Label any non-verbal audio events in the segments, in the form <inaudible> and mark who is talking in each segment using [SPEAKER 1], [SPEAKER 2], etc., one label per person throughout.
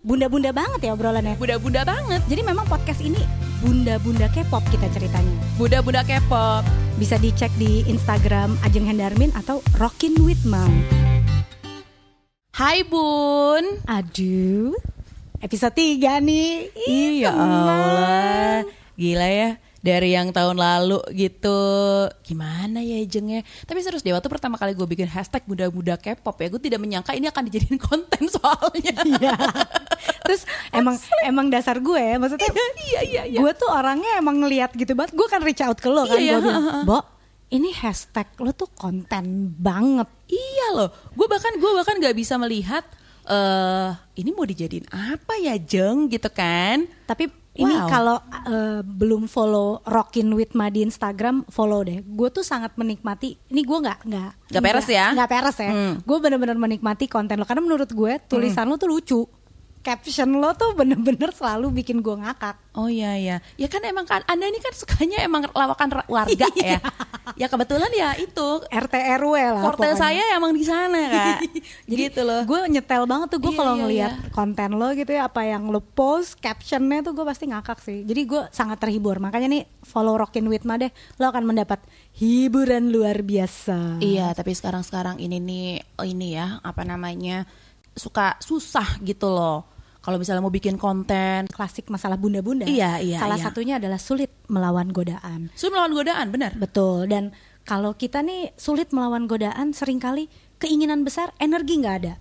[SPEAKER 1] bunda-bunda banget ya obrolannya.
[SPEAKER 2] Bunda-bunda banget.
[SPEAKER 1] Jadi memang podcast ini bunda-bunda K-pop kita ceritanya.
[SPEAKER 2] Bunda-bunda K-pop.
[SPEAKER 1] Bisa dicek di Instagram Ajeng Hendarmin atau Rockin with Mom.
[SPEAKER 2] Hai Bun.
[SPEAKER 1] Aduh. Episode 3 nih. Ih,
[SPEAKER 2] Iya
[SPEAKER 1] seneng.
[SPEAKER 2] Allah. Gila ya. Dari yang tahun lalu gitu Gimana ya jengnya Tapi serius Dewa tuh pertama kali gue bikin hashtag Bunda-bunda K-pop ya Gue tidak menyangka ini akan dijadiin <laughs> konten soalnya
[SPEAKER 1] Iya. <laughs> Terus emang emang dasar gue ya, <laughs> maksudnya
[SPEAKER 2] Iya iya iya
[SPEAKER 1] gue tuh orangnya emang ngelihat gitu banget. Gue kan reach out ke lo kan, gue
[SPEAKER 2] Iya,
[SPEAKER 1] bilang, "Bo, ini hashtag lo tuh konten banget."
[SPEAKER 2] <laughs> Iya loh, gue bahkan gue bahkan nggak bisa melihat eh ini mau dijadiin apa ya Jeng gitu kan?
[SPEAKER 1] Tapi ini
[SPEAKER 2] Wow.
[SPEAKER 1] kalau eh, belum follow Rockin with Ma di Instagram, follow deh. Gue tuh sangat menikmati. Ini gue nggak nggak
[SPEAKER 2] Nggak peres ya?
[SPEAKER 1] Nggak peres ya.
[SPEAKER 2] Hmm.
[SPEAKER 1] Gue bener-bener menikmati konten lo karena menurut gue tulisan lo tuh lucu. Caption lo tuh bener-bener selalu bikin gue ngakak.
[SPEAKER 2] Oh iya iya, ya kan emang kan Anda ini kan sukanya emang lawakan ra- <laughs> warga ya. Ya kebetulan ya itu
[SPEAKER 1] RT RW lah.
[SPEAKER 2] forte
[SPEAKER 1] pokoknya.
[SPEAKER 2] saya emang di <laughs> sana kak. Ya, gitu loh.
[SPEAKER 1] Gue nyetel banget tuh gue
[SPEAKER 2] Iya,
[SPEAKER 1] kalau
[SPEAKER 2] iya,
[SPEAKER 1] ngelihat konten lo gitu ya apa yang lo post captionnya tuh gue pasti ngakak sih. Jadi gue sangat terhibur. Makanya nih follow Rockin Witma deh, lo akan mendapat hiburan luar biasa.
[SPEAKER 2] Iya, tapi sekarang-sekarang ini nih oh, ini ya apa namanya suka susah gitu loh. Kalau misalnya mau bikin konten,
[SPEAKER 1] Klasik masalah bunda-bunda.
[SPEAKER 2] Iya, iya,
[SPEAKER 1] Salah
[SPEAKER 2] iya.
[SPEAKER 1] satunya adalah sulit melawan godaan.
[SPEAKER 2] sulit melawan godaan, benar?
[SPEAKER 1] Betul. Dan kalau kita nih sulit melawan godaan, seringkali keinginan besar, energi nggak
[SPEAKER 2] <laughs>
[SPEAKER 1] ada.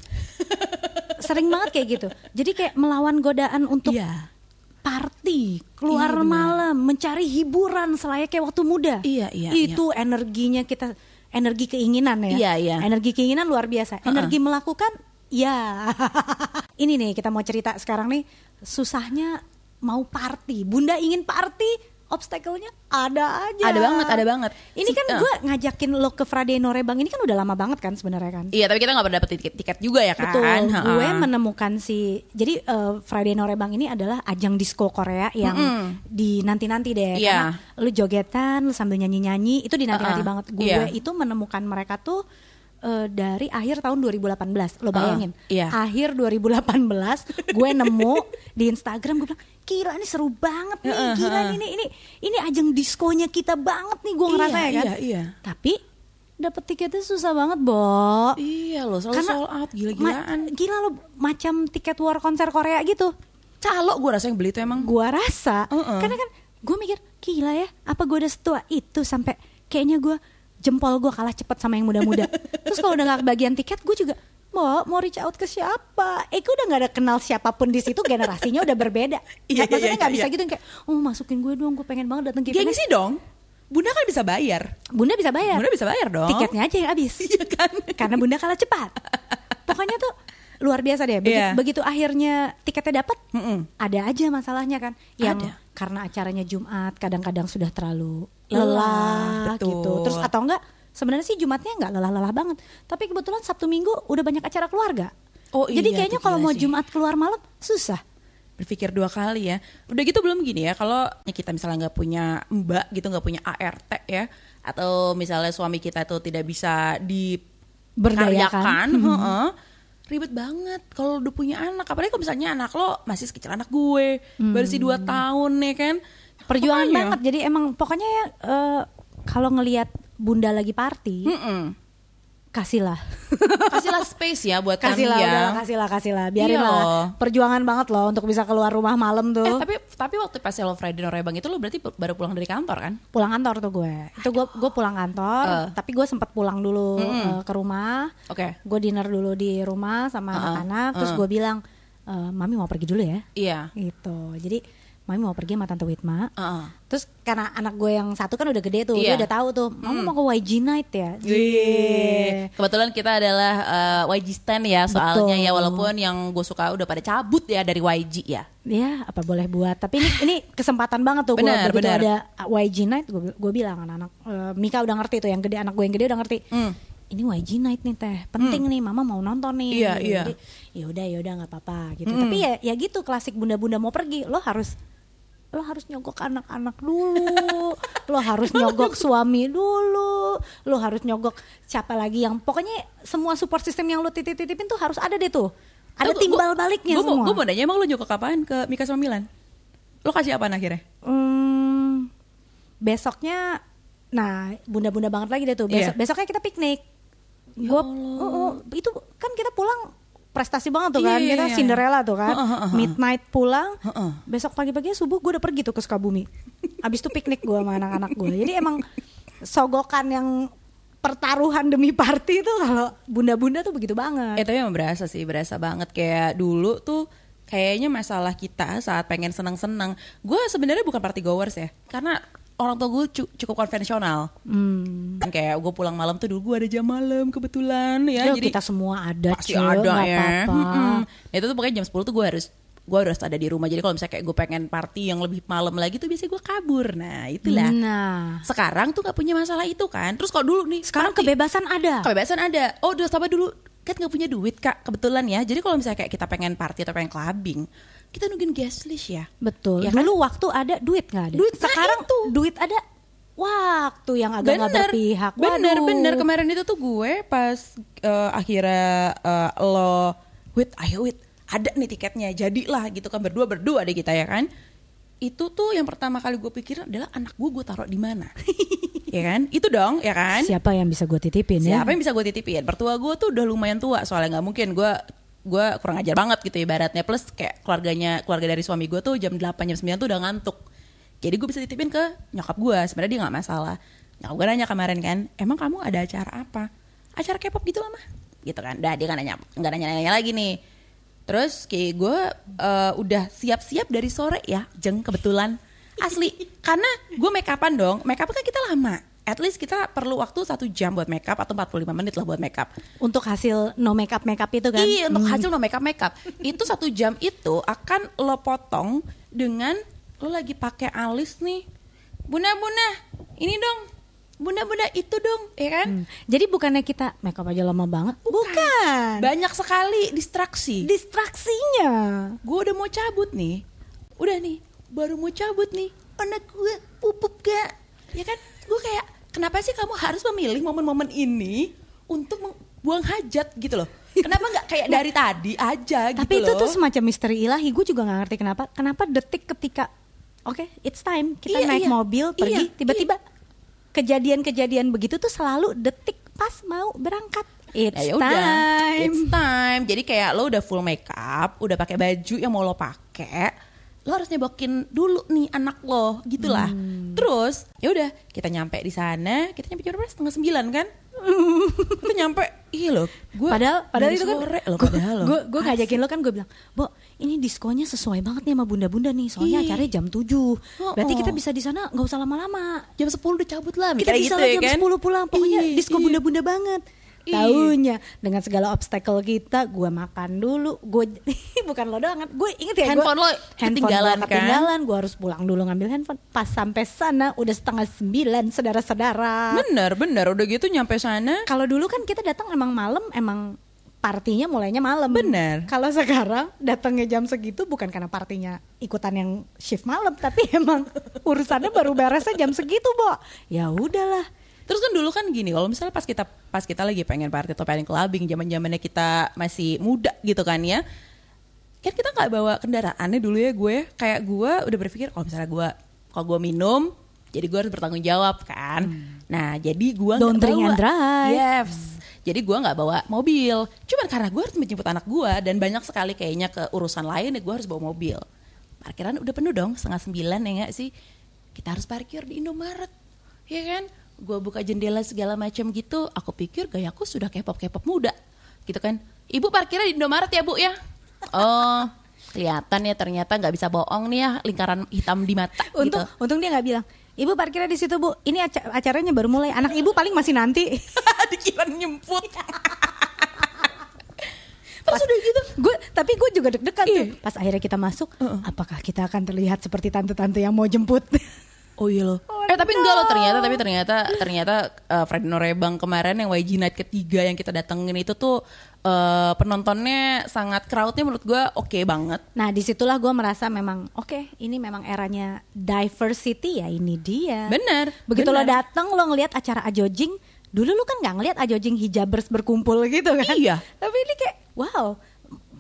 [SPEAKER 1] Sering banget kayak gitu. Jadi kayak melawan godaan untuk
[SPEAKER 2] Iya.
[SPEAKER 1] party, keluar
[SPEAKER 2] Iya, benar.
[SPEAKER 1] malam, mencari hiburan selayaknya waktu muda.
[SPEAKER 2] Iya, iya,
[SPEAKER 1] Itu energinya kita energi keinginan ya.
[SPEAKER 2] Iya, iya.
[SPEAKER 1] Energi keinginan luar biasa. Energi melakukan ya. <laughs> Ini nih kita mau cerita sekarang nih susahnya mau party. Bunda ingin party, obstacle-nya ada aja.
[SPEAKER 2] Ada banget, ada banget.
[SPEAKER 1] Ini
[SPEAKER 2] Se-
[SPEAKER 1] kan
[SPEAKER 2] eh.
[SPEAKER 1] gue ngajakin lo ke Friday Norebang ini kan udah lama banget kan sebenarnya kan?
[SPEAKER 2] Iya, tapi kita nggak pernah dapet tiket, tiket juga ya kan?
[SPEAKER 1] Betul,
[SPEAKER 2] Ha-ha.
[SPEAKER 1] gue menemukan si jadi eh, Friday Norebang ini adalah ajang disco Korea yang di nanti-nanti deh.
[SPEAKER 2] Iya.
[SPEAKER 1] Karena lu jogetan, lu sambil nyanyi-nyanyi itu di nanti-nanti
[SPEAKER 2] Uh-uh.
[SPEAKER 1] banget. Gue
[SPEAKER 2] Iya.
[SPEAKER 1] itu menemukan mereka tuh eh, dari akhir tahun 2018. Lo bayangin.
[SPEAKER 2] Uh-uh. Iya.
[SPEAKER 1] Akhir
[SPEAKER 2] <laughs>
[SPEAKER 1] 2018 gue nemu di Instagram gue bilang, "Gila ini seru banget nih.
[SPEAKER 2] Uh-uh,
[SPEAKER 1] Gila
[SPEAKER 2] uh-uh.
[SPEAKER 1] ini ini ini ajang diskonya kita banget nih gue
[SPEAKER 2] Iya,
[SPEAKER 1] ngerasa ya kan."
[SPEAKER 2] iya, iya.
[SPEAKER 1] Tapi dapet tiketnya susah banget, Bo.
[SPEAKER 2] Iya loh, selalu
[SPEAKER 1] Karena
[SPEAKER 2] sold out gila-gilaan.
[SPEAKER 1] ma- gila lo macam tiket war konser Korea gitu.
[SPEAKER 2] Hmm. Calo gue rasa yang beli itu emang.
[SPEAKER 1] Gua rasa
[SPEAKER 2] Uh-uh.
[SPEAKER 1] karena kan gue mikir gila ya, apa gue udah setua itu sampai kayaknya gue jempol gue kalah cepet sama yang
[SPEAKER 2] <laughs>
[SPEAKER 1] muda-muda. Terus kalau udah gak kebagian tiket gue juga mau mau reach out ke siapa? Eh gue udah gak ada kenal siapapun di situ generasinya udah berbeda.
[SPEAKER 2] <laughs> Iya, iya,
[SPEAKER 1] Nggak- maksudnya
[SPEAKER 2] iya,
[SPEAKER 1] nggak
[SPEAKER 2] iya.
[SPEAKER 1] bisa gitu yang kayak oh masukin gue dong gue pengen banget datang ke eventnya."
[SPEAKER 2] Gengsi dong. Bunda kan bisa bayar.
[SPEAKER 1] Bunda bisa bayar.
[SPEAKER 2] Bunda bisa bayar dong.
[SPEAKER 1] Tiketnya aja yang habis.
[SPEAKER 2] <laughs> Iya kan?
[SPEAKER 1] Karena Bunda kalah cepat. Pokoknya tuh luar biasa deh. Begitu,
[SPEAKER 2] Iya.
[SPEAKER 1] begitu akhirnya tiketnya dapat,
[SPEAKER 2] Mm-mm.
[SPEAKER 1] ada aja masalahnya kan. Yang
[SPEAKER 2] Ada.
[SPEAKER 1] karena acaranya Jumat kadang-kadang sudah terlalu
[SPEAKER 2] Lelah,
[SPEAKER 1] lelah
[SPEAKER 2] betul.
[SPEAKER 1] gitu. Terus atau enggak sebenarnya sih Jumatnya enggak lelah-lelah banget. Tapi kebetulan Sabtu Minggu udah banyak acara keluarga.
[SPEAKER 2] Oh
[SPEAKER 1] Jadi
[SPEAKER 2] iya,
[SPEAKER 1] kayaknya
[SPEAKER 2] tuh
[SPEAKER 1] kalau
[SPEAKER 2] gila
[SPEAKER 1] mau
[SPEAKER 2] sih.
[SPEAKER 1] Jumat keluar malam susah.
[SPEAKER 2] Berpikir dua kali ya. Udah gitu belum gini ya, kalau kita misalnya nggak punya mbak gitu, nggak punya ART ya, atau misalnya suami kita tuh tidak bisa diberdayakan,
[SPEAKER 1] Berdayakan.
[SPEAKER 2] <laughs>
[SPEAKER 1] Hmm.
[SPEAKER 2] heeh, ribet banget kalau udah punya anak. Apalagi kalau misalnya anak lo masih sekecil anak gue, baru sih dua tahun ya kan.
[SPEAKER 1] Hmm. Perjuangan
[SPEAKER 2] Makanya-
[SPEAKER 1] banget. Jadi emang pokoknya ya eh, kalau ngelihat Bunda lagi party, <laughs>
[SPEAKER 2] Mm-mm. <laughs>
[SPEAKER 1] kasihlah.
[SPEAKER 2] Kasihlah space ya buat kami
[SPEAKER 1] kasihlah
[SPEAKER 2] ya.
[SPEAKER 1] udahlah, kasihlah kasihlah biarin
[SPEAKER 2] Iya
[SPEAKER 1] lah
[SPEAKER 2] loh.
[SPEAKER 1] perjuangan banget loh untuk bisa keluar rumah malam tuh
[SPEAKER 2] Eh, tapi tapi waktu pas lo Friday Norebang itu lo berarti pu- baru pulang dari kantor kan?
[SPEAKER 1] pulang kantor tuh gue itu gue gue pulang kantor
[SPEAKER 2] Eh.
[SPEAKER 1] tapi gue sempat pulang dulu eh, ke rumah
[SPEAKER 2] Oke.
[SPEAKER 1] gue dinner dulu di rumah sama
[SPEAKER 2] Uh-uh,
[SPEAKER 1] anak-anak terus
[SPEAKER 2] uh-uh.
[SPEAKER 1] gue bilang "Eh, mami mau pergi dulu ya
[SPEAKER 2] Iya.
[SPEAKER 1] gitu jadi mami mau pergi sama tante Witma
[SPEAKER 2] Heeh.
[SPEAKER 1] terus karena anak gue yang satu kan udah gede tuh
[SPEAKER 2] Eh. Iya.
[SPEAKER 1] dia udah tahu tuh mama mau ke YG night ya Gitu.
[SPEAKER 2] Wih. Iya. Kebetulan kita adalah eh, YG Stan ya soalnya
[SPEAKER 1] Betul.
[SPEAKER 2] ya walaupun yang gue suka udah pada cabut ya dari YG ya.
[SPEAKER 1] Ya apa boleh buat Tapi ini,
[SPEAKER 2] <laughs>
[SPEAKER 1] ini kesempatan banget tuh gue
[SPEAKER 2] Benar,
[SPEAKER 1] Begitu
[SPEAKER 2] benar.
[SPEAKER 1] ada YG Night Gue gue bilang anak-anak eh, Mika udah ngerti tuh Yang gede anak gue yang gede udah ngerti
[SPEAKER 2] Hmm.
[SPEAKER 1] Ini YG Night nih teh Penting nih mama mau nonton nih
[SPEAKER 2] Iya,
[SPEAKER 1] Gitu.
[SPEAKER 2] iya. Hmm.
[SPEAKER 1] Jadi, Yaudah yaudah gak apa-apa gitu Tapi ya ya gitu klasik bunda-bunda mau pergi Lo harus lo harus nyogok anak-anak
[SPEAKER 2] <laughs>
[SPEAKER 1] dulu, lo harus nyogok suami dulu, lo harus nyogok siapa lagi yang pokoknya semua support system yang lo titip-titipin tuh harus ada deh tuh. Ada timbal baliknya
[SPEAKER 2] gua,
[SPEAKER 1] semua.
[SPEAKER 2] Gue mau nanya, emang lo nyokok apaan ke Mika sama Milan? Lo kasih apaan akhirnya?
[SPEAKER 1] Hmm, besoknya, nah bunda-bunda banget lagi deh tuh. Besok,
[SPEAKER 2] Iya.
[SPEAKER 1] Besoknya kita piknik.
[SPEAKER 2] Ya
[SPEAKER 1] Gua,
[SPEAKER 2] Allah.
[SPEAKER 1] Uh-uh, itu kan kita pulang prestasi banget tuh
[SPEAKER 2] Iya,
[SPEAKER 1] kan.
[SPEAKER 2] iya,
[SPEAKER 1] Kita
[SPEAKER 2] iya.
[SPEAKER 1] Cinderella tuh kan.
[SPEAKER 2] Heeh, heeh, heeh.
[SPEAKER 1] Midnight pulang.
[SPEAKER 2] Heeh.
[SPEAKER 1] Besok pagi-pagi subuh gue udah pergi tuh ke Sukabumi. Abis itu piknik gue sama anak-anak gue. Jadi emang sogokan yang pertaruhan demi party itu kalau bunda-bunda tuh begitu banget.
[SPEAKER 2] Eh tapi emang berasa sih, berasa banget kayak dulu tuh kayaknya masalah kita saat pengen senang-senang. Gue sebenarnya bukan party goers ya, karena orang tua gue cu- cukup konvensional.
[SPEAKER 1] Hmm.
[SPEAKER 2] Kan Kayak gue pulang malam tuh dulu gue ada jam malam kebetulan
[SPEAKER 1] Yo,
[SPEAKER 2] ya.
[SPEAKER 1] kita semua ada,
[SPEAKER 2] pasti
[SPEAKER 1] Cil,
[SPEAKER 2] ada
[SPEAKER 1] nggak
[SPEAKER 2] ya.
[SPEAKER 1] apa-apa.
[SPEAKER 2] Mm-mm. Nah, itu tuh pokoknya jam 10 tuh gue harus gue harus ada di rumah. Jadi kalau misalnya kayak gue pengen party yang lebih malam lagi tuh biasanya gue kabur. Nah itulah.
[SPEAKER 1] Nah,
[SPEAKER 2] Sekarang tuh gak punya masalah itu kan. Terus kalau dulu nih
[SPEAKER 1] sekarang kebebasan ada.
[SPEAKER 2] kebebasan ada. Oh, udah sama dulu kan nggak punya duit kak kebetulan ya. Jadi kalau misalnya kayak kita pengen party atau pengen clubbing, kita nungguin guest list ya.
[SPEAKER 1] Betul.
[SPEAKER 2] Ya kan?
[SPEAKER 1] Dulu waktu ada duit nggak ada.
[SPEAKER 2] Duit, nah
[SPEAKER 1] Sekarang
[SPEAKER 2] itu.
[SPEAKER 1] duit ada waktu yang agak nggak berpihak.
[SPEAKER 2] bener,
[SPEAKER 1] Waduh.
[SPEAKER 2] bener. Kemarin itu tuh gue pas eh, akhirnya eh, lo, wait, ayo wait, ada nih tiketnya, jadilah gitu kan berdua berdua deh kita ya kan. Itu tuh yang pertama kali gue pikirin adalah anak gue gue taruh di
[SPEAKER 1] <laughs>
[SPEAKER 2] mana, ya kan? Itu dong, ya kan?
[SPEAKER 1] Siapa yang bisa gue titipin ya?
[SPEAKER 2] Siapa Iya, yang bisa gue titipin? Pertua gue tuh udah lumayan tua soalnya nggak mungkin gue gue kurang ajar banget gitu ibaratnya plus kayak keluarganya keluarga dari suami gue tuh jam 8 jam 9 tuh udah ngantuk jadi gue bisa titipin ke nyokap gue sebenarnya dia nggak masalah nyokap gue nanya kemarin kan emang kamu ada acara apa acara K-pop gitu lah mah gitu kan dah dia nggak nanya nggak nanya nanya lagi nih terus kayak gue eh, udah siap-siap dari sore ya jeng kebetulan Asli, karena gue make upan dong. Make up kan kita lama. At least kita perlu waktu satu jam buat make up atau 45 menit lah buat make up.
[SPEAKER 1] Untuk hasil no makeup makeup itu kan?
[SPEAKER 2] Iya, untuk hasil no make up make up. Itu satu jam itu akan lo potong dengan lo lagi pakai alis nih. Bunda, bunda, ini dong. Bunda, bunda, itu dong, ya kan?
[SPEAKER 1] Hmm. Jadi bukannya kita makeup aja lama banget? Bukan.
[SPEAKER 2] Banyak sekali distraksi.
[SPEAKER 1] Distraksinya.
[SPEAKER 2] gue udah mau cabut nih udah nih baru mau cabut nih anak gue pupup gak ya kan gue kayak kenapa sih kamu harus memilih momen-momen ini untuk meng- buang hajat gitu loh kenapa nggak kayak dari tadi aja gitu
[SPEAKER 1] Tapi itu
[SPEAKER 2] loh.
[SPEAKER 1] tuh semacam misteri ilahi. Gue juga nggak ngerti kenapa. Kenapa detik ketika Oke, it's time. Kita
[SPEAKER 2] Iya,
[SPEAKER 1] naik
[SPEAKER 2] iya.
[SPEAKER 1] mobil pergi.
[SPEAKER 2] Iya,
[SPEAKER 1] Tiba-tiba kejadian-kejadian begitu tuh selalu detik pas mau berangkat. It's
[SPEAKER 2] Nah, ya udah.
[SPEAKER 1] time.
[SPEAKER 2] It's time. Jadi kayak lo udah full makeup, udah pakai baju yang mau lo pakai, lo harus nyebokin dulu nih anak lo, gitulah.
[SPEAKER 1] Hmm.
[SPEAKER 2] Terus ya udah kita nyampe di sana, kita nyampe jam berapa? Setengah sembilan
[SPEAKER 1] <laughs>
[SPEAKER 2] kan? kita nyampe, iya lo, gue
[SPEAKER 1] padahal padahal itu
[SPEAKER 2] dari
[SPEAKER 1] kan
[SPEAKER 2] sore lo, padahal lo.
[SPEAKER 1] gue gue ngajakin lo kan gue bilang bo ini diskonnya sesuai banget nih sama bunda-bunda nih soalnya
[SPEAKER 2] Iya. Oh,
[SPEAKER 1] acaranya jam 7 berarti kita bisa di sana nggak usah lama-lama
[SPEAKER 2] jam sepuluh udah cabut lah,
[SPEAKER 1] kita
[SPEAKER 2] mikirnya
[SPEAKER 1] bisa
[SPEAKER 2] gitu, ya
[SPEAKER 1] jam
[SPEAKER 2] kan?
[SPEAKER 1] 10 pulang pokoknya
[SPEAKER 2] Iya,
[SPEAKER 1] diskon
[SPEAKER 2] iya.
[SPEAKER 1] bunda-bunda banget
[SPEAKER 2] Iya.
[SPEAKER 1] Taunya dengan segala obstacle kita, gue makan dulu, gue <laughs> bukan lo doang, gue inget ya gua-
[SPEAKER 2] Handphone lo ketinggalan,
[SPEAKER 1] gua
[SPEAKER 2] kan?
[SPEAKER 1] ketinggalan, gue harus pulang dulu ngambil handphone. Pas sampai sana udah setengah sembilan, saudara-saudara.
[SPEAKER 2] Bener bener udah gitu nyampe sana
[SPEAKER 1] Kalau dulu kan kita datang emang malam, emang partinya mulainya malam.
[SPEAKER 2] Bener.
[SPEAKER 1] Kalau sekarang datangnya jam segitu bukan karena partinya ikutan yang shift malam, tapi <laughs> emang urusannya baru beresnya jam segitu, Bo. Ya udahlah.
[SPEAKER 2] Terus kan dulu kan gini, kalau misalnya pas kita pas kita lagi pengen party atau pengen clubbing, zaman zamannya kita masih muda gitu kan ya, kan kita nggak bawa kendaraannya dulu ya gue, kayak gue udah berpikir kalau misalnya gue kalau gue minum, jadi gue harus bertanggung jawab kan. Nah jadi gue nggak
[SPEAKER 1] Hmm. Don't drink
[SPEAKER 2] bawa- Iya,
[SPEAKER 1] and drive.
[SPEAKER 2] Yes. Jadi gue nggak bawa mobil, cuman karena gue harus menjemput anak gue dan banyak sekali kayaknya ke urusan lain ya gue harus bawa mobil. Parkiran udah penuh dong, setengah sembilan ya nggak sih? Kita harus parkir di Indomaret ya kan gue buka jendela segala macam gitu aku pikir gayaku sudah K-pop K-pop muda gitu kan ibu parkirnya di Indomaret ya bu ya oh kelihatan ya ternyata nggak bisa bohong nih ya lingkaran hitam di mata
[SPEAKER 1] Untung
[SPEAKER 2] gitu
[SPEAKER 1] untung dia nggak bilang, "Ibu parkirnya di situ, Bu. Ini aca- acaranya baru mulai. Anak Ibu paling masih
[SPEAKER 2] <laughs>
[SPEAKER 1] nanti."
[SPEAKER 2] <laughs> dikira nyemput terus udah gitu
[SPEAKER 1] gue tapi gue juga deg-degan tuh.
[SPEAKER 2] Iya.
[SPEAKER 1] Pas akhirnya kita masuk, apakah kita akan terlihat seperti tante-tante yang mau jemput? <laughs>
[SPEAKER 2] Oh iya loh. eh tapi enggak loh ternyata tapi ternyata ternyata eh, Fred Norebang kemarin yang YG Night ketiga yang kita datengin itu tuh eh, penontonnya sangat crowdnya menurut gue oke banget.
[SPEAKER 1] Nah disitulah gue merasa memang oke ini memang eranya diversity ya ini
[SPEAKER 2] Iya.
[SPEAKER 1] dia.
[SPEAKER 2] Bener.
[SPEAKER 1] Begitu lo
[SPEAKER 2] bener.
[SPEAKER 1] datang lo ngelihat acara Ajojing, dulu lo kan nggak ngelihat Ajojing hijabers berkumpul gitu kan?
[SPEAKER 2] Iya.
[SPEAKER 1] Tapi ini kayak wow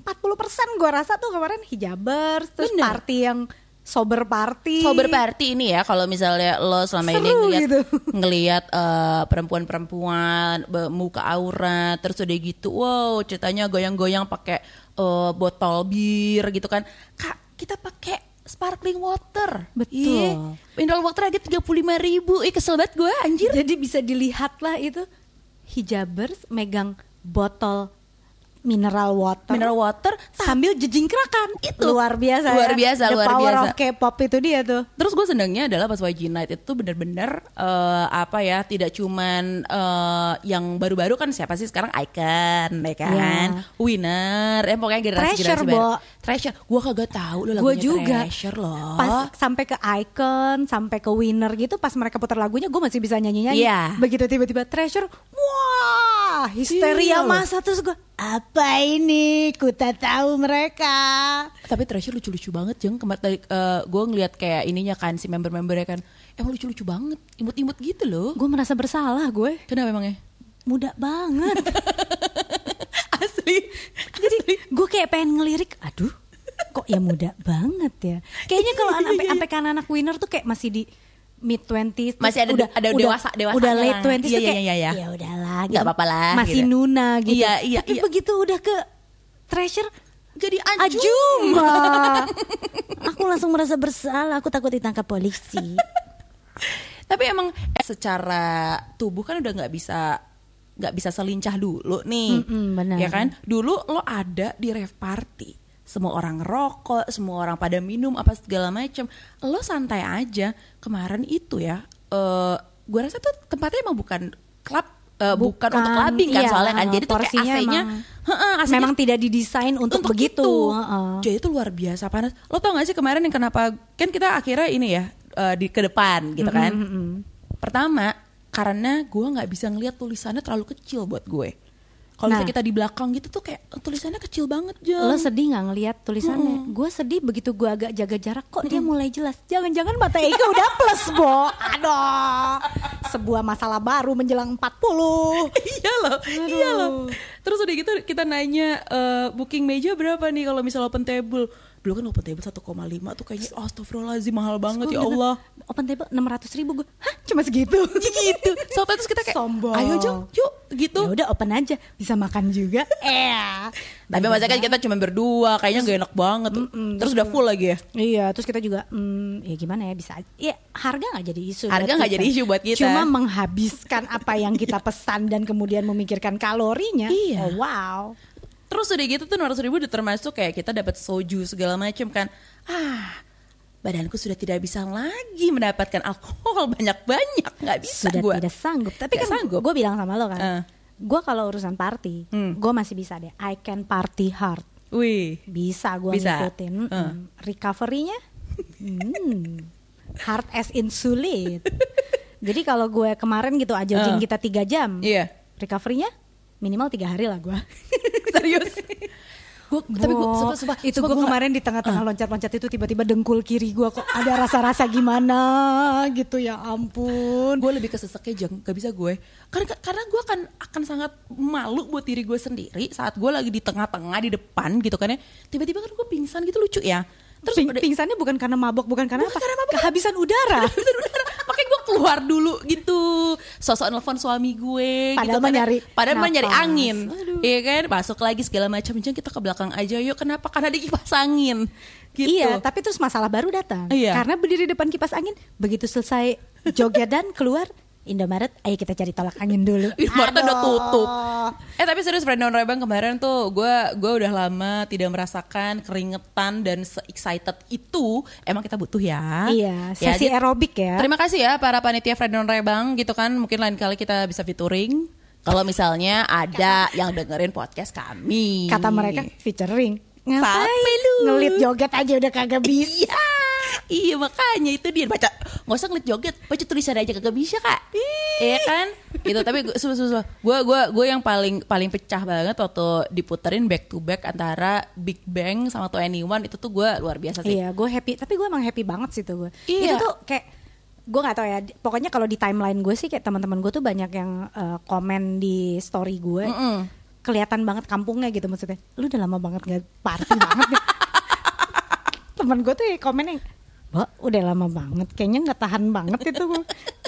[SPEAKER 1] 40% gue rasa tuh kemarin hijabers terus
[SPEAKER 2] Bener.
[SPEAKER 1] party yang sober party
[SPEAKER 2] Sober party ini ya kalau misalnya lo selama ini
[SPEAKER 1] Seru
[SPEAKER 2] ngeliat
[SPEAKER 1] gitu. <laughs>
[SPEAKER 2] ngeliat, eh, perempuan-perempuan be- muka aurat terus udah gitu wow ceritanya goyang-goyang pakai eh, botol bir gitu kan kak kita pakai sparkling water
[SPEAKER 1] Betul.
[SPEAKER 2] Ih, mineral water aja tiga ribu Ih, kesel banget gue anjir
[SPEAKER 1] jadi bisa dilihat lah itu hijabers megang botol mineral water
[SPEAKER 2] mineral water
[SPEAKER 1] sambil jejingkrakan
[SPEAKER 2] Itu.
[SPEAKER 1] luar biasa ya.
[SPEAKER 2] Luar biasa,
[SPEAKER 1] the
[SPEAKER 2] luar
[SPEAKER 1] power
[SPEAKER 2] biasa.
[SPEAKER 1] of K-pop itu dia tuh
[SPEAKER 2] Terus gue senengnya adalah pas YG Night itu bener-bener eh, apa ya tidak cuman eh, yang baru-baru kan siapa sih sekarang Icon, ya kan,
[SPEAKER 1] Ya.
[SPEAKER 2] winner, eh pokoknya generasi generasi
[SPEAKER 1] Treasure,
[SPEAKER 2] baru.
[SPEAKER 1] Bo.
[SPEAKER 2] Treasure, gue kagak tahu lo
[SPEAKER 1] gue
[SPEAKER 2] lagunya
[SPEAKER 1] juga
[SPEAKER 2] Treasure loh.
[SPEAKER 1] pas sampai ke icon sampai ke winner gitu pas mereka putar lagunya gue masih bisa nyanyi nyanyi
[SPEAKER 2] Iya.
[SPEAKER 1] begitu tiba-tiba treasure wah histeria
[SPEAKER 2] Iya loh.
[SPEAKER 1] masa terus gue apa ini ku tak tahu mereka
[SPEAKER 2] Tapi Treasure lucu-lucu banget jeng kemarin tadi gue ngeliat kayak ininya kan si member-membernya kan emang lucu-lucu banget, imut-imut gitu loh.
[SPEAKER 1] gue merasa bersalah gue
[SPEAKER 2] Kenapa emangnya?
[SPEAKER 1] muda banget
[SPEAKER 2] <laughs> Asli.
[SPEAKER 1] jadi gue kayak pengen ngelirik aduh kok ya muda banget ya kayaknya
[SPEAKER 2] Iya,
[SPEAKER 1] kalau
[SPEAKER 2] gitu,
[SPEAKER 1] anak sampai kan anak winner tuh kayak masih di mid 20s terus
[SPEAKER 2] Masih ada-
[SPEAKER 1] udah,
[SPEAKER 2] ada
[SPEAKER 1] udah,
[SPEAKER 2] dewasa- dewasanya
[SPEAKER 1] udah
[SPEAKER 2] lah.
[SPEAKER 1] late 20s
[SPEAKER 2] Iya,
[SPEAKER 1] tuh
[SPEAKER 2] iya,
[SPEAKER 1] kayak
[SPEAKER 2] iya, iya.
[SPEAKER 1] ya udahlah
[SPEAKER 2] Nggak apa-apa lah,
[SPEAKER 1] masih
[SPEAKER 2] gitu.
[SPEAKER 1] nuna gitu
[SPEAKER 2] Iya, iya,
[SPEAKER 1] tapi
[SPEAKER 2] iya.
[SPEAKER 1] begitu udah ke treasure
[SPEAKER 2] Jadi anjum.
[SPEAKER 1] ajuma
[SPEAKER 2] <laughs>
[SPEAKER 1] aku langsung merasa bersalah aku takut ditangkap polisi
[SPEAKER 2] Tapi emang eh, secara tubuh kan udah nggak bisa nggak bisa selincah dulu nih,
[SPEAKER 1] Mm-mm, benar.
[SPEAKER 2] ya kan? Dulu lo ada di rave party, semua orang ngerokok, semua orang pada minum apa segala macem. Lo santai aja. Kemarin itu ya, eh gue rasa tuh tempatnya emang bukan klub, eh, bukan,
[SPEAKER 1] Bukan,
[SPEAKER 2] untuk clubbing kan
[SPEAKER 1] iya,
[SPEAKER 2] soalnya kan. Jadi tuh kayak
[SPEAKER 1] porsinya
[SPEAKER 2] AC-nya,
[SPEAKER 1] emang-
[SPEAKER 2] heeh, AC-nya
[SPEAKER 1] memang tidak didesain untuk, begitu
[SPEAKER 2] itu.
[SPEAKER 1] Heeh.
[SPEAKER 2] Jadi itu luar biasa panas. Lo tau gak sih kemarin yang kenapa kan kita akhirnya ini ya eh, di ke depan gitu kan. Pertama karena gue nggak bisa ngelihat tulisannya terlalu kecil buat gue. Kalau
[SPEAKER 1] Nah.
[SPEAKER 2] misalnya kita di belakang gitu tuh kayak eh, tulisannya kecil banget Jeng.
[SPEAKER 1] lo sedih nggak ngelihat tulisannya? Gue sedih begitu gue agak jaga jarak kok dia mulai jelas. Jangan-jangan mata Eka udah plus, Bo. Aduh. Sebuah masalah baru menjelang 40.
[SPEAKER 2] <laughs> iya loh, iya loh. Terus udah gitu kita nanya eh, booking meja berapa nih kalau misalnya open table. Dulu kan open table 1,5 tuh kayaknya astagfirullahaladzim mahal banget
[SPEAKER 1] Gua
[SPEAKER 2] ya
[SPEAKER 1] denger,
[SPEAKER 2] Allah.
[SPEAKER 1] Open table 600 ribu gue. Hah, cuma segitu.
[SPEAKER 2] <laughs> gitu. Soalnya terus kita kayak
[SPEAKER 1] Sombong.
[SPEAKER 2] ayo Jeng, yuk gitu.
[SPEAKER 1] Ya udah open aja, bisa makan
[SPEAKER 2] <laughs>
[SPEAKER 1] juga. Eh.
[SPEAKER 2] Tapi masa kan kita cuma berdua, kayaknya gak enak banget. Terus udah full lagi ya.
[SPEAKER 1] Iya, terus kita juga, hmm, ya gimana ya bisa. Ya harga nggak jadi isu.
[SPEAKER 2] Harga
[SPEAKER 1] buat
[SPEAKER 2] nggak
[SPEAKER 1] kita.
[SPEAKER 2] jadi isu buat kita.
[SPEAKER 1] Cuma menghabiskan apa yang kita pesan dan kemudian memikirkan kalorinya.
[SPEAKER 2] Iya.
[SPEAKER 1] Oh, wow.
[SPEAKER 2] Terus udah gitu tuh 200 ribu udah termasuk kayak kita dapat soju segala macam kan. Ah, badanku sudah tidak bisa lagi mendapatkan alkohol <laughs> banyak-banyak. Nggak bisa
[SPEAKER 1] Sudah
[SPEAKER 2] gue.
[SPEAKER 1] tidak sanggup. Tapi
[SPEAKER 2] Nggak
[SPEAKER 1] kan
[SPEAKER 2] sanggup.
[SPEAKER 1] gue bilang sama lo kan,
[SPEAKER 2] Eh.
[SPEAKER 1] gue kalau urusan party,
[SPEAKER 2] Hmm.
[SPEAKER 1] gue masih bisa deh. I can party hard.
[SPEAKER 2] Wih.
[SPEAKER 1] Bisa gue
[SPEAKER 2] Bisa.
[SPEAKER 1] ngikutin. Mm-mm.
[SPEAKER 2] Eh.
[SPEAKER 1] Recovery-nya, hmm, hard as insulin. Jadi kalau gue kemarin gitu aja
[SPEAKER 2] Eh.
[SPEAKER 1] kita tiga jam,
[SPEAKER 2] Iya. <laughs>
[SPEAKER 1] recovery-nya minimal tiga hari lah gue.
[SPEAKER 2] Serius. Gua, tapi gue
[SPEAKER 1] Bo,
[SPEAKER 2] sumpah, sumpah,
[SPEAKER 1] itu gue
[SPEAKER 2] sumpah gua nggak- Ah.
[SPEAKER 1] kemarin di tengah-tengah loncat-loncat itu tiba-tiba dengkul kiri gue kok ada rasa-rasa gimana gitu ya ampun.
[SPEAKER 2] gue lebih keseseknya jeng gak bisa gue karena karena gue akan akan sangat malu buat diri gue sendiri saat gue lagi di tengah-tengah di depan gitu kan ya tiba-tiba kan gue pingsan gitu lucu ya terus
[SPEAKER 1] Ping-
[SPEAKER 2] udah-
[SPEAKER 1] pingsannya bukan karena mabok, bukan karena
[SPEAKER 2] Bukan
[SPEAKER 1] apa?
[SPEAKER 2] karena mabok.
[SPEAKER 1] Kehabisan udara.
[SPEAKER 2] Habisan udara. makanya gue keluar dulu gitu sosok nelfon suami gue
[SPEAKER 1] Padahal
[SPEAKER 2] gitu kan
[SPEAKER 1] mah
[SPEAKER 2] ya.
[SPEAKER 1] nyari
[SPEAKER 2] padahal mah nyari
[SPEAKER 1] napas.
[SPEAKER 2] angin
[SPEAKER 1] Aduh.
[SPEAKER 2] iya kan masuk lagi segala macam jeng kita ke belakang aja yuk kenapa karena ada kipas angin <laughs> gitu
[SPEAKER 1] Iya, tapi terus masalah baru datang.
[SPEAKER 2] Iya.
[SPEAKER 1] Karena berdiri depan kipas angin, begitu selesai joget dan keluar Indomaret, ayo kita cari tolak angin dulu.
[SPEAKER 2] <laughs> Indomaret udah
[SPEAKER 1] Aduh.
[SPEAKER 2] tutup. Eh tapi serius friend on Rebang kemarin tuh gue gua udah lama tidak merasakan keringetan dan se-excited itu emang kita butuh ya.
[SPEAKER 1] Iya, sesi
[SPEAKER 2] jadi-
[SPEAKER 1] aerobik ya.
[SPEAKER 2] Terima kasih ya para panitia friend on Rebang gitu kan mungkin lain kali kita bisa featuring. Kalau misalnya ada yang dengerin podcast kami.
[SPEAKER 1] Kata mereka featuring.
[SPEAKER 2] Sampai
[SPEAKER 1] Ngapain
[SPEAKER 2] lu.
[SPEAKER 1] Ngelit joget aja udah kagak bisa.
[SPEAKER 2] Iya. Iya makanya itu dia baca nggak usah ngeliat joget baca tulisan aja kagak bisa kak Iya kan itu tapi gue gue gue gue yang paling paling pecah banget waktu diputerin back to back antara Big Bang sama To Anyone itu tuh gue luar biasa sih
[SPEAKER 1] Iya, gue happy. Tapi gue emang happy banget sih tuh gue.
[SPEAKER 2] Iya.
[SPEAKER 1] Itu tuh kayak gue nggak tahu ya. di- Pokoknya kalau di timeline gue sih kayak teman-teman gue tuh banyak yang eh, komen di story gue.
[SPEAKER 2] Mm-mm.
[SPEAKER 1] kelihatan banget kampungnya gitu maksudnya lu udah lama banget nggak party banget <laughs> nih. temen gue tuh komen yang Bo, udah lama banget kayaknya nggak tahan banget itu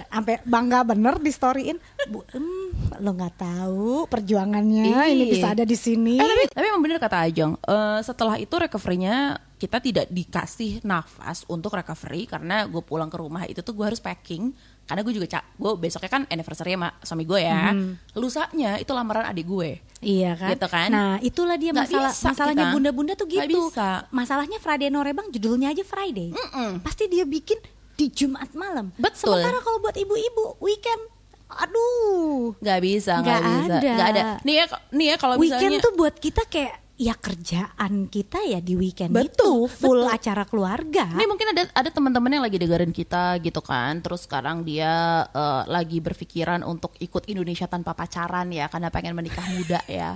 [SPEAKER 1] sampai bangga bener di storyin Bu, em, lo nggak tahu perjuangannya
[SPEAKER 2] Ih.
[SPEAKER 1] ini bisa ada di sini
[SPEAKER 2] Iya. Eh, tapi, tapi emang bener kata Ajeng, eh, setelah itu recovery-nya kita tidak dikasih nafas untuk recovery karena gue pulang ke rumah itu tuh gue harus packing karena gue juga cak gue besoknya kan anniversary sama suami gue ya
[SPEAKER 1] Hmm.
[SPEAKER 2] lusanya itu lamaran adik gue
[SPEAKER 1] Iya kan?
[SPEAKER 2] Gitu kan?
[SPEAKER 1] Nah, itulah dia
[SPEAKER 2] Nggak
[SPEAKER 1] masalah
[SPEAKER 2] bisa
[SPEAKER 1] masalahnya
[SPEAKER 2] kita.
[SPEAKER 1] bunda-bunda tuh
[SPEAKER 2] Nggak
[SPEAKER 1] gitu.
[SPEAKER 2] bisa.
[SPEAKER 1] Masalahnya Friday No Rebang judulnya aja Friday. Pasti dia bikin di Jumat malam.
[SPEAKER 2] Betul.
[SPEAKER 1] Sementara kalau buat ibu-ibu weekend aduh.
[SPEAKER 2] nggak bisa nggak
[SPEAKER 1] Nggak
[SPEAKER 2] bisa
[SPEAKER 1] ada.
[SPEAKER 2] nggak ada nih ya nih ya kalau
[SPEAKER 1] weekend
[SPEAKER 2] misalnya
[SPEAKER 1] tuh buat kita kayak ya kerjaan kita ya di weekend
[SPEAKER 2] Betul,
[SPEAKER 1] itu full
[SPEAKER 2] betul.
[SPEAKER 1] acara keluarga.
[SPEAKER 2] Ini mungkin ada ada teman-teman yang lagi dengerin kita gitu kan. Terus sekarang dia eh, lagi berpikiran untuk ikut Indonesia tanpa pacaran ya karena pengen menikah muda
[SPEAKER 1] <laughs>
[SPEAKER 2] ya.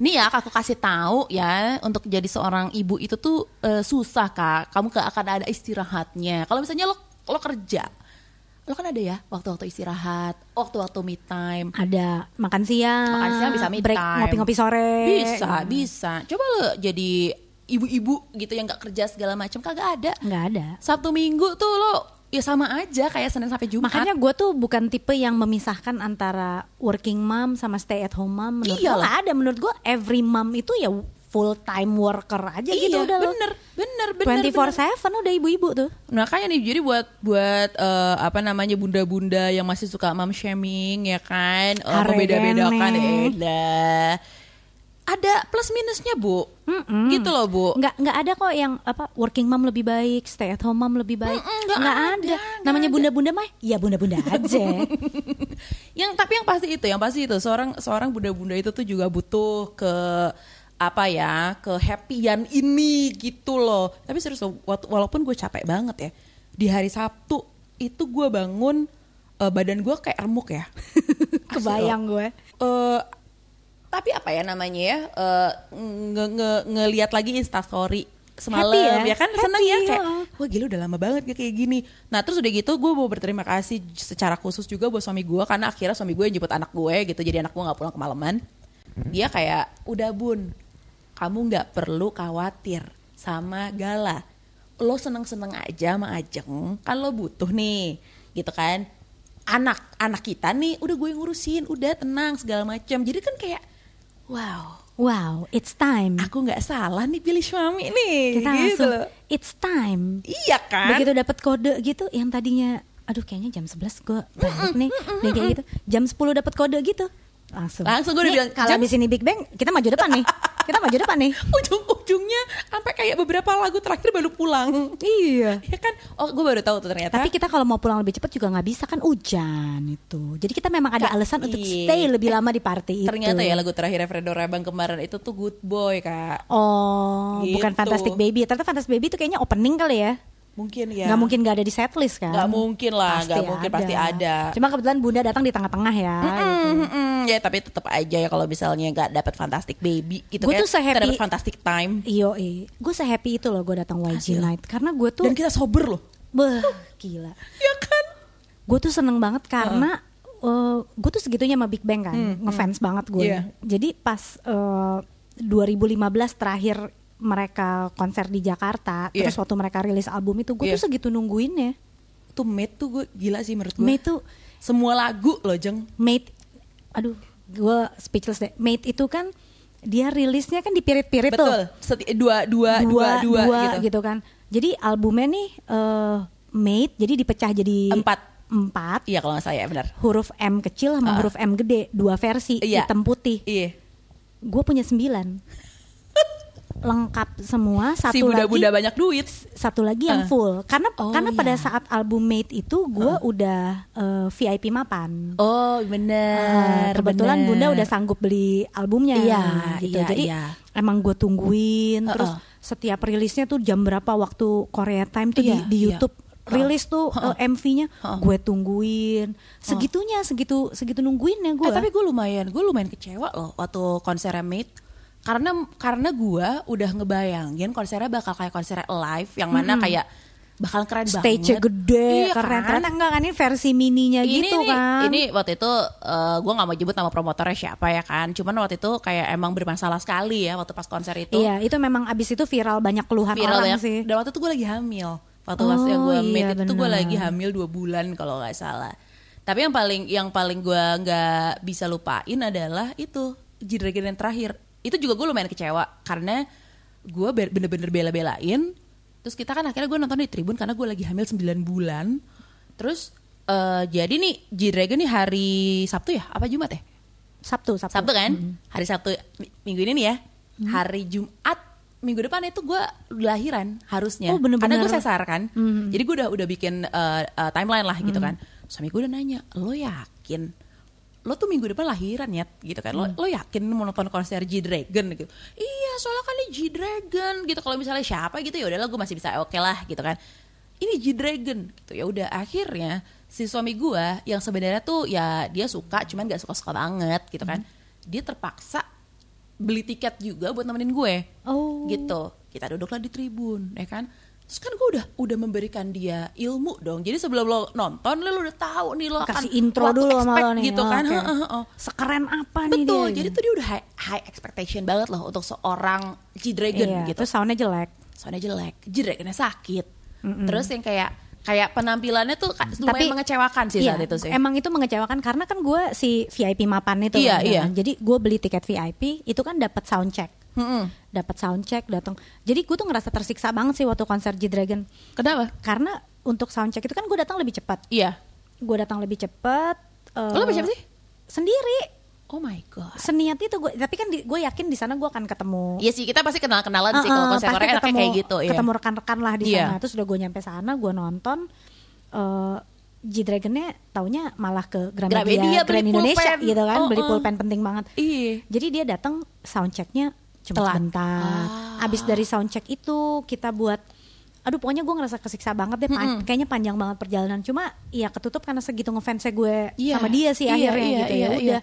[SPEAKER 2] Nih ya aku kasih tahu ya untuk jadi seorang ibu itu tuh eh, susah kak. Kamu gak akan ada istirahatnya. Kalau misalnya lo lo kerja, lo kan ada ya waktu-waktu istirahat, waktu-waktu me time.
[SPEAKER 1] Ada makan siang,
[SPEAKER 2] Makan siang bisa me
[SPEAKER 1] Ah, break
[SPEAKER 2] time.
[SPEAKER 1] ngopi-ngopi sore. Hmm.
[SPEAKER 2] Bisa, bisa. Coba lo jadi ibu-ibu gitu yang gak kerja segala macam kagak ada.
[SPEAKER 1] Nggak ada.
[SPEAKER 2] Sabtu Minggu tuh lo ya sama aja kayak Senin sampai Jumat.
[SPEAKER 1] Makanya gue tuh bukan tipe yang memisahkan antara working mom sama stay at home mom. Menurut
[SPEAKER 2] Iyalah.
[SPEAKER 1] gue nggak ada. Menurut gue every mom itu ya full time worker aja
[SPEAKER 2] iya,
[SPEAKER 1] gitu udah
[SPEAKER 2] bener, bener, bener,
[SPEAKER 1] Twenty four
[SPEAKER 2] bener.
[SPEAKER 1] seven udah ibu-ibu tuh.
[SPEAKER 2] Nah, kayak nih jadi buat buat eh, apa namanya bunda-bunda yang masih suka mom shaming ya kan, Eh,
[SPEAKER 1] Hare
[SPEAKER 2] membeda-bedakan
[SPEAKER 1] Rene.
[SPEAKER 2] Elah. Ada plus minusnya, Bu.
[SPEAKER 1] Mm-mm.
[SPEAKER 2] Gitu loh, Bu.
[SPEAKER 1] Nggak nggak ada kok yang apa working mom lebih baik, stay at home mom lebih baik.
[SPEAKER 2] Mm-mm, nggak
[SPEAKER 1] Nggak
[SPEAKER 2] ada,
[SPEAKER 1] ada.
[SPEAKER 2] nggak
[SPEAKER 1] Namanya
[SPEAKER 2] ada.
[SPEAKER 1] bunda-bunda mah ya
[SPEAKER 2] <laughs>
[SPEAKER 1] bunda-bunda aja.
[SPEAKER 2] yang tapi yang pasti itu yang pasti itu seorang seorang bunda-bunda itu tuh juga butuh ke apa ya ke happyan ini gitu loh tapi serius loh, wat- walaupun gue capek banget ya di hari Sabtu itu gue bangun eh, badan gue kayak remuk ya
[SPEAKER 1] <laughs> Kebayang gue.
[SPEAKER 2] Eh, tapi apa ya namanya ya eh, nge, nge, ngelihat lagi instastory semalam
[SPEAKER 1] Happy
[SPEAKER 2] ya?
[SPEAKER 1] ya?
[SPEAKER 2] kan
[SPEAKER 1] Happy,
[SPEAKER 2] seneng ya kayak
[SPEAKER 1] iya.
[SPEAKER 2] wah gila udah lama banget gak kayak gini nah terus udah gitu gue mau berterima kasih secara khusus juga buat suami gue karena akhirnya suami gue yang jemput anak gue gitu jadi anak gue nggak pulang kemalaman
[SPEAKER 1] Hmm.
[SPEAKER 2] dia kayak udah bun kamu nggak perlu khawatir sama gala lo seneng seneng aja sama ajeng kan lo butuh nih gitu kan anak anak kita nih udah gue yang ngurusin udah tenang segala macam jadi kan kayak wow
[SPEAKER 1] Wow, it's time.
[SPEAKER 2] aku nggak salah nih pilih suami nih
[SPEAKER 1] Hmm. Kita
[SPEAKER 2] gitu
[SPEAKER 1] langsung
[SPEAKER 2] loh
[SPEAKER 1] it's time.
[SPEAKER 2] iya kan
[SPEAKER 1] begitu dapat kode gitu yang tadinya aduh kayaknya jam 11 gue balik nih Dan kayak gitu jam 10 dapat kode gitu langsung
[SPEAKER 2] Langsung gua udah
[SPEAKER 1] Nih,
[SPEAKER 2] bilang,
[SPEAKER 1] kalau
[SPEAKER 2] "Jam-"
[SPEAKER 1] di sini Big Bang kita maju depan nih kita maju depan
[SPEAKER 2] <laughs>
[SPEAKER 1] nih
[SPEAKER 2] ujung-ujungnya sampai kayak beberapa lagu terakhir baru pulang
[SPEAKER 1] iya
[SPEAKER 2] ya kan oh gue baru tahu tuh ternyata
[SPEAKER 1] tapi kita kalau mau pulang lebih cepat juga nggak bisa kan hujan itu jadi kita memang ada
[SPEAKER 2] Nggak,
[SPEAKER 1] alasan untuk
[SPEAKER 2] iya.
[SPEAKER 1] stay lebih lama di party itu
[SPEAKER 2] ternyata ya lagu terakhir Fredo Rabang kemarin itu tuh Good Boy kak
[SPEAKER 1] oh bukan
[SPEAKER 2] Gitu.
[SPEAKER 1] Fantastic Baby ya. ternyata Fantastic Baby itu kayaknya opening kali ya
[SPEAKER 2] mungkin ya
[SPEAKER 1] nggak mungkin nggak ada di setlist kan
[SPEAKER 2] Nggak mungkin lah, nggak mungkin, pasti ada.
[SPEAKER 1] cuma kebetulan bunda datang di tengah-tengah ya gitu.
[SPEAKER 2] Mm-mm, ya tapi tetap aja ya kalau misalnya nggak dapat fantastic baby gitu
[SPEAKER 1] Gua
[SPEAKER 2] kan
[SPEAKER 1] tuh se-happy-
[SPEAKER 2] dapat fantastic time
[SPEAKER 1] Iyo, gue sehappy itu loh gue datang YG
[SPEAKER 2] Hasil.
[SPEAKER 1] Night karena gue tuh,
[SPEAKER 2] dan kita sober loh
[SPEAKER 1] beuh, gila.
[SPEAKER 2] ya kan
[SPEAKER 1] Gue tuh seneng banget karena gue tuh segitunya sama Big Bang kan, ngefans banget gue.
[SPEAKER 2] Hmm, Iya.
[SPEAKER 1] Jadi pas eh, 2015 terakhir mereka konser di Jakarta,
[SPEAKER 2] Iya.
[SPEAKER 1] terus waktu mereka rilis album itu gue
[SPEAKER 2] Iya.
[SPEAKER 1] tuh segitu ya. nungguinnya.
[SPEAKER 2] tuh mate tuh gue gila sih menurut gue
[SPEAKER 1] Mate tuh
[SPEAKER 2] semua lagu loh jeng
[SPEAKER 1] Mate, aduh, gue speechless deh. Mate itu kan dia rilisnya kan dipirit-pirit tuh.
[SPEAKER 2] betul Seti- dua, dua, dua, dua, gitu.
[SPEAKER 1] kan. Jadi albumnya nih eh, made jadi dipecah jadi
[SPEAKER 2] Empat.
[SPEAKER 1] empat
[SPEAKER 2] iya kalau nggak salah ya benar
[SPEAKER 1] huruf M kecil sama
[SPEAKER 2] Ah.
[SPEAKER 1] huruf M gede dua versi
[SPEAKER 2] Iya.
[SPEAKER 1] hitam putih.
[SPEAKER 2] iya
[SPEAKER 1] Gue punya
[SPEAKER 2] <laughs>
[SPEAKER 1] sembilan lengkap semua satu
[SPEAKER 2] si bunda-bunda
[SPEAKER 1] lagi
[SPEAKER 2] banyak duit
[SPEAKER 1] satu lagi yang
[SPEAKER 2] Ah.
[SPEAKER 1] full karena
[SPEAKER 2] Oh,
[SPEAKER 1] karena
[SPEAKER 2] iya. Ah.
[SPEAKER 1] pada saat album made itu gue udah eh, VIP mapan.
[SPEAKER 2] oh
[SPEAKER 1] Ah,
[SPEAKER 2] benar
[SPEAKER 1] kebetulan bunda udah sanggup beli albumnya
[SPEAKER 2] Iya,
[SPEAKER 1] gitu
[SPEAKER 2] iya,
[SPEAKER 1] jadi
[SPEAKER 2] iya.
[SPEAKER 1] emang gue tungguin
[SPEAKER 2] Heeh.
[SPEAKER 1] terus setiap rilisnya tuh jam berapa waktu Korea time tuh
[SPEAKER 2] Iya,
[SPEAKER 1] di, di
[SPEAKER 2] iya.
[SPEAKER 1] YouTube rilis tuh
[SPEAKER 2] Heeh.
[SPEAKER 1] eh, MV-nya
[SPEAKER 2] Heeh.
[SPEAKER 1] gue tungguin segitunya segitu segitu nungguinnya gue
[SPEAKER 2] Eh, tapi gue lumayan, gue lumayan kecewa loh waktu konsernya Mate karena karena gue udah ngebayangin konsernya bakal kayak konser live yang mana kayak bakal keren
[SPEAKER 1] stage-nya
[SPEAKER 2] banget.
[SPEAKER 1] gede,
[SPEAKER 2] Iya
[SPEAKER 1] keren.
[SPEAKER 2] kan?
[SPEAKER 1] Ternyata enggak kan ini versi mininya
[SPEAKER 2] ini,
[SPEAKER 1] gitu
[SPEAKER 2] ini,
[SPEAKER 1] kan.
[SPEAKER 2] Ini waktu itu gue nggak mau nyebut nama promotornya siapa ya kan. Cuman waktu itu kayak emang bermasalah sekali ya waktu pas konser itu.
[SPEAKER 1] Iya, itu memang abis itu viral banyak keluhan
[SPEAKER 2] viral
[SPEAKER 1] orang
[SPEAKER 2] ya? banyak.
[SPEAKER 1] sih.
[SPEAKER 2] Dan waktu itu gue lagi hamil. Waktu
[SPEAKER 1] Oh,
[SPEAKER 2] pas yang gue
[SPEAKER 1] iya,
[SPEAKER 2] meet itu gue
[SPEAKER 1] benar.
[SPEAKER 2] lagi hamil dua bulan kalau nggak salah. Tapi yang paling yang paling gue nggak bisa lupain adalah itu G-Dragon yang terakhir. Itu juga gue lumayan kecewa karena gue be- bener-bener bela-belain. Terus kita kan akhirnya gue nonton di Tribun karena gue lagi hamil 9 bulan. Terus eh, jadi nih G-Dragon nih hari Sabtu ya? Apa Jumat ya?
[SPEAKER 1] Sabtu, Sabtu.
[SPEAKER 2] Sabtu kan? Hari Sabtu mi- minggu ini nih ya. Hari Jumat minggu depan itu gue lahiran harusnya.
[SPEAKER 1] Oh, bener-bener. Mm-hmm.
[SPEAKER 2] Karena gue sesar kan. Jadi gue udah udah bikin uh, uh, timeline lah gitu kan. Suami gue udah nanya, "Lo yakin lo tuh minggu depan lahiran ya gitu kan
[SPEAKER 1] Mm.
[SPEAKER 2] lo, lo yakin mau nonton konser G Dragon gitu iya soalnya kan ini G Dragon gitu kalau misalnya siapa gitu ya udahlah gue masih bisa oke lah gitu kan ini G Dragon gitu ya udah akhirnya si suami gue yang sebenarnya tuh ya dia suka cuman gak suka suka banget gitu kan
[SPEAKER 1] Mm-hmm.
[SPEAKER 2] dia terpaksa beli tiket juga buat nemenin gue
[SPEAKER 1] Oh.
[SPEAKER 2] gitu kita duduklah di tribun ya kan terus kan gue udah udah memberikan dia ilmu dong jadi sebelum lo nonton lo, lo udah tahu nih lo akan
[SPEAKER 1] Kasih intro
[SPEAKER 2] lo tuh
[SPEAKER 1] dulu sama
[SPEAKER 2] expect
[SPEAKER 1] lo nih.
[SPEAKER 2] gitu
[SPEAKER 1] oh,
[SPEAKER 2] kan
[SPEAKER 1] oke.
[SPEAKER 2] Heeh, heeh.
[SPEAKER 1] Sekeren apa nih dia?
[SPEAKER 2] betul jadi
[SPEAKER 1] gitu.
[SPEAKER 2] tuh dia udah high, high expectation banget loh untuk seorang G Dragon
[SPEAKER 1] Iya,
[SPEAKER 2] gitu
[SPEAKER 1] terus soundnya jelek.
[SPEAKER 2] soalnya jelek G Dragonnya sakit terus yang kayak kayak penampilannya tuh ka- lumayan mengecewakan sih
[SPEAKER 1] iya,
[SPEAKER 2] saat itu sih
[SPEAKER 1] Emang itu mengecewakan karena kan gue si VIP mapan itu.
[SPEAKER 2] Iya,
[SPEAKER 1] kan,
[SPEAKER 2] iya.
[SPEAKER 1] Jadi gue beli tiket VIP itu kan dapat sound check.
[SPEAKER 2] Mm-mm.
[SPEAKER 1] Dapat sound check datang. Jadi gue tuh ngerasa tersiksa banget sih waktu konser G Dragon.
[SPEAKER 2] kenapa
[SPEAKER 1] Karena untuk sound check itu kan gue datang lebih cepat.
[SPEAKER 2] iya
[SPEAKER 1] Gue datang lebih cepat. eh,
[SPEAKER 2] Lo lebih cepat sih?
[SPEAKER 1] Sendiri.
[SPEAKER 2] oh my god
[SPEAKER 1] Seniat itu gue. Tapi kan gue yakin di sana gue akan ketemu.
[SPEAKER 2] Iya sih kita pasti kenal kenalan sih kalau
[SPEAKER 1] Uh-uh,
[SPEAKER 2] konser
[SPEAKER 1] pasti
[SPEAKER 2] Korea enaknya
[SPEAKER 1] ketemu-
[SPEAKER 2] kayak gitu ya
[SPEAKER 1] Ketemu rekan-rekan lah di
[SPEAKER 2] Iya.
[SPEAKER 1] sana. Terus udah gue nyampe sana, gue nonton eh, G Dragonnya taunya malah ke
[SPEAKER 2] Gramedia,
[SPEAKER 1] Gramedia,
[SPEAKER 2] beli
[SPEAKER 1] Grand Indonesia
[SPEAKER 2] pulpen.
[SPEAKER 1] gitu kan, beli
[SPEAKER 2] Oh, oh.
[SPEAKER 1] pulpen penting banget.
[SPEAKER 2] iya
[SPEAKER 1] Jadi dia datang soundchecknya cuma
[SPEAKER 2] Telat. Ah.
[SPEAKER 1] sebentar. Abis dari soundcheck itu kita buat Aduh pokoknya gue ngerasa kesiksa banget deh pan- Kayaknya panjang banget perjalanan Cuma ya ketutup karena segitu ngefansnya gue
[SPEAKER 2] Iya,
[SPEAKER 1] sama dia sih
[SPEAKER 2] iya,
[SPEAKER 1] akhirnya
[SPEAKER 2] iya,
[SPEAKER 1] gitu
[SPEAKER 2] iya,
[SPEAKER 1] ya
[SPEAKER 2] iya.
[SPEAKER 1] udah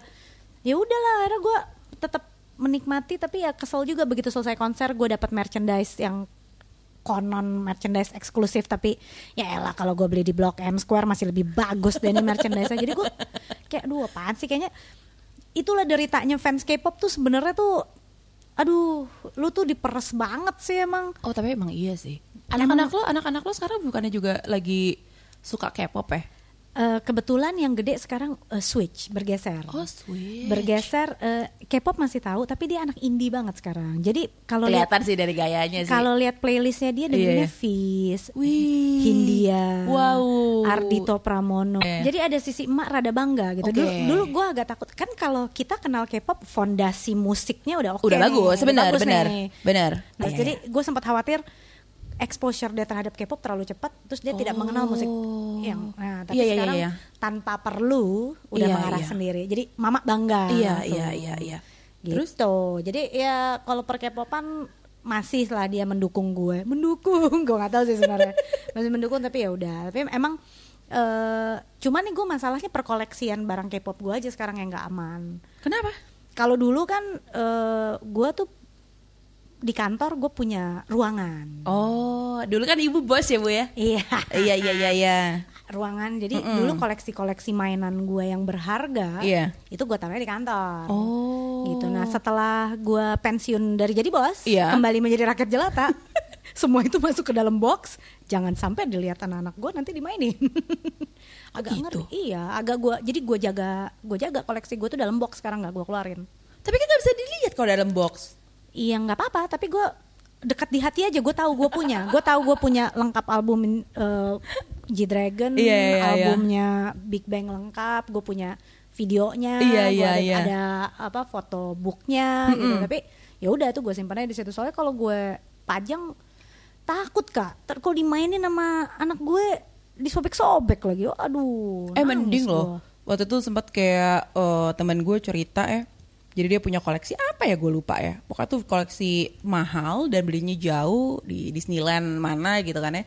[SPEAKER 1] ya udahlah akhirnya gue tetap menikmati tapi ya kesel juga begitu selesai konser gue dapat merchandise yang konon merchandise eksklusif tapi ya elah kalau gue beli di Blok M Square masih lebih bagus dari merchandise jadi gue kayak aduh apaan sih kayaknya itulah deritanya fans K-pop tuh sebenarnya tuh aduh lu tuh diperes banget sih emang
[SPEAKER 2] Oh tapi emang iya sih. Anak-anak lo, anak-anak lo sekarang bukannya juga lagi suka K-pop ya?
[SPEAKER 1] Eh, kebetulan yang gede sekarang eh, switch bergeser
[SPEAKER 2] Oh sweet.
[SPEAKER 1] bergeser eh, K-pop masih tahu tapi dia anak indie banget sekarang jadi kalau lihat
[SPEAKER 2] Kelihatan sih dari gayanya sih.
[SPEAKER 1] kalau lihat playlistnya dia dengernya
[SPEAKER 2] Iya, iya.
[SPEAKER 1] Fizz,
[SPEAKER 2] Wih.
[SPEAKER 1] Hindia,
[SPEAKER 2] Wow.
[SPEAKER 1] Ardito Pramono.
[SPEAKER 2] Eh.
[SPEAKER 1] Jadi ada sisi emak rada bangga gitu.
[SPEAKER 2] Oke.
[SPEAKER 1] Dulu, dulu gue agak takut kan kalau kita kenal K-pop fondasi musiknya udah oke,
[SPEAKER 2] udah
[SPEAKER 1] nih,
[SPEAKER 2] bagus,
[SPEAKER 1] udah
[SPEAKER 2] benar,
[SPEAKER 1] bagus
[SPEAKER 2] benar,
[SPEAKER 1] nih.
[SPEAKER 2] benar.
[SPEAKER 1] Nah,
[SPEAKER 2] Iya,
[SPEAKER 1] jadi
[SPEAKER 2] iya.
[SPEAKER 1] gue sempat khawatir exposure dia terhadap K-pop terlalu cepat, terus dia tidak mengenal musik yang. Nah, tapi
[SPEAKER 2] Iya, iya,
[SPEAKER 1] sekarang
[SPEAKER 2] iya, iya.
[SPEAKER 1] tanpa perlu udah
[SPEAKER 2] Iya,
[SPEAKER 1] mengarah
[SPEAKER 2] iya.
[SPEAKER 1] sendiri. Jadi mama bangga.
[SPEAKER 2] iya,
[SPEAKER 1] tuh.
[SPEAKER 2] iya, iya, iya.
[SPEAKER 1] Terus tuh, jadi ya kalau per K-popan masih lah dia mendukung gue, <laughs> mendukung gue nggak tahu sih
[SPEAKER 2] <laughs>
[SPEAKER 1] sebenarnya masih mendukung tapi ya udah. Tapi emang eh cuman nih gue masalahnya perkoleksian barang K-pop gue aja sekarang yang nggak aman.
[SPEAKER 2] Kenapa?
[SPEAKER 1] Kalau dulu kan eh gue tuh di kantor gue punya ruangan,
[SPEAKER 2] Oh, dulu kan ibu bos ya bu ya?
[SPEAKER 1] iya <laughs>
[SPEAKER 2] iya, iya, iya, iya.
[SPEAKER 1] ruangan. Jadi
[SPEAKER 2] Mm-mm.
[SPEAKER 1] dulu koleksi-koleksi mainan gue yang berharga
[SPEAKER 2] Iya.
[SPEAKER 1] itu gue taruhnya di kantor.
[SPEAKER 2] Oh.
[SPEAKER 1] gitu. Nah setelah gua pensiun dari jadi bos,
[SPEAKER 2] Iya.
[SPEAKER 1] kembali menjadi rakyat jelata, <laughs> semua itu masuk ke dalam box. Jangan sampai dilihat anak-anak gua nanti dimainin. <laughs> agak
[SPEAKER 2] gitu?
[SPEAKER 1] ngeri, iya. Agak gua jadi gua jaga, gua jaga koleksi gua tuh dalam box sekarang nggak gua keluarin.
[SPEAKER 2] Tapi kan nggak bisa dilihat kalau dalam box.
[SPEAKER 1] Iya nggak apa-apa, tapi gua dekat di hati aja. Gua tahu gua punya, gua tahu gua punya lengkap album eh, G Dragon,
[SPEAKER 2] Iya, iya, iya.
[SPEAKER 1] albumnya Big Bang lengkap, gua punya videonya,
[SPEAKER 2] Iya,
[SPEAKER 1] gua
[SPEAKER 2] iya,
[SPEAKER 1] ada,
[SPEAKER 2] iya.
[SPEAKER 1] ada apa foto booknya gitu. Tapi ya udah tuh gue simpannya di situ. Soalnya kalau gue pajang takut kak, ter kalau dimainin sama anak gue disobek-sobek lagi. Oh, aduh.
[SPEAKER 2] Eh
[SPEAKER 1] nangis
[SPEAKER 2] mending
[SPEAKER 1] gua.
[SPEAKER 2] loh. Waktu itu sempat kayak eh, teman gue cerita eh jadi dia punya koleksi apa ya gue lupa ya. Pokoknya tuh koleksi mahal dan belinya jauh di Disneyland mana gitu kan ya.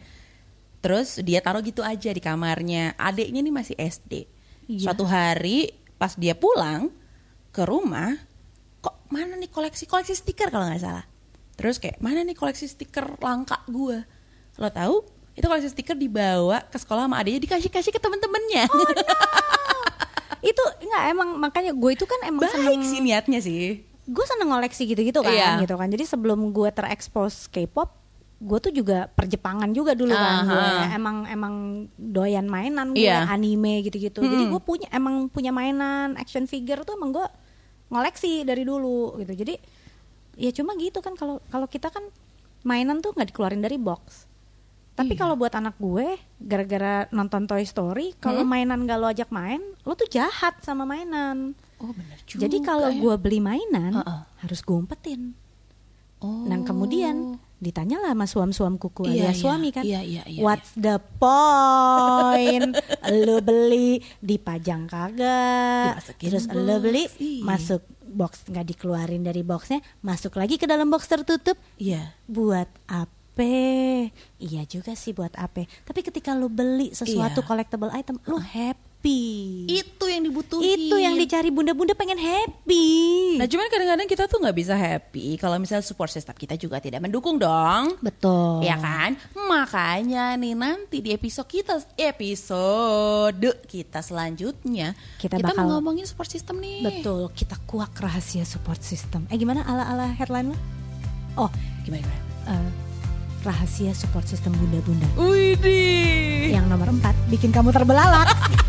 [SPEAKER 2] Terus dia taruh gitu aja di kamarnya. Adiknya nih masih SD.
[SPEAKER 1] Iya.
[SPEAKER 2] Suatu hari pas dia pulang ke rumah, kok mana nih koleksi koleksi stiker kalau nggak salah. Terus kayak mana nih koleksi stiker langka gue. Lo tahu itu koleksi stiker dibawa ke sekolah sama adanya dikasih-kasih ke temen-temennya.
[SPEAKER 1] itu nggak emang makanya gue itu kan emang
[SPEAKER 2] Baik
[SPEAKER 1] seneng
[SPEAKER 2] sih niatnya sih.
[SPEAKER 1] gue seneng ngoleksi gitu-gitu kan
[SPEAKER 2] Iya.
[SPEAKER 1] gitu kan jadi sebelum gue terekspos K-pop gue tuh juga perjepangan juga dulu kan
[SPEAKER 2] Aha.
[SPEAKER 1] gue emang emang doyan mainan gue
[SPEAKER 2] Iya. Hmm.
[SPEAKER 1] anime gitu-gitu jadi
[SPEAKER 2] Mm-mm.
[SPEAKER 1] gue punya emang punya mainan action figure tuh emang gue ngoleksi dari dulu gitu jadi ya cuma gitu kan kalau kalau kita kan mainan tuh nggak dikeluarin dari box tapi
[SPEAKER 2] Iya.
[SPEAKER 1] kalau buat anak gue gara-gara nonton Toy Story kalau
[SPEAKER 2] Hmm?
[SPEAKER 1] mainan gak lo ajak main lo tuh jahat sama mainan
[SPEAKER 2] Oh benar juga.
[SPEAKER 1] jadi kalau
[SPEAKER 2] ya.
[SPEAKER 1] gua beli mainan
[SPEAKER 2] Heeh.
[SPEAKER 1] harus gue umpetin.
[SPEAKER 2] Oh.
[SPEAKER 1] Nah kemudian ditanyalah sama suam-suamku kuku alias
[SPEAKER 2] Iya, iya.
[SPEAKER 1] suami kan.
[SPEAKER 2] Iya, iya, iya,
[SPEAKER 1] What's the point? lu beli dipajang kagak.
[SPEAKER 2] Dimasukin
[SPEAKER 1] Terus
[SPEAKER 2] box,
[SPEAKER 1] lu beli
[SPEAKER 2] iya.
[SPEAKER 1] masuk box nggak dikeluarin dari boxnya, masuk lagi ke dalam box tertutup.
[SPEAKER 2] Iya.
[SPEAKER 1] Buat apa? Iya juga sih buat apa? Tapi ketika lu beli sesuatu
[SPEAKER 2] Iya.
[SPEAKER 1] collectible item, lu happy.
[SPEAKER 2] Itu yang dibutuhin.
[SPEAKER 1] Itu yang dicari bunda-bunda pengen happy.
[SPEAKER 2] Nah cuman kadang-kadang kita tuh nggak bisa happy kalau misalnya support system kita juga tidak mendukung dong.
[SPEAKER 1] Betul.
[SPEAKER 2] Ya kan? Makanya nih nanti di episode kita episode kita selanjutnya
[SPEAKER 1] Kita
[SPEAKER 2] kita
[SPEAKER 1] bakal-
[SPEAKER 2] mau ngomongin support system nih.
[SPEAKER 1] Betul, kita kuak rahasia support system. Eh gimana ala-ala headline lo? Oh,
[SPEAKER 2] Gimana? gimana?
[SPEAKER 1] eh, rahasia support system bunda-bunda.
[SPEAKER 2] Widih.
[SPEAKER 1] Yang nomor 4, bikin kamu terbelalak.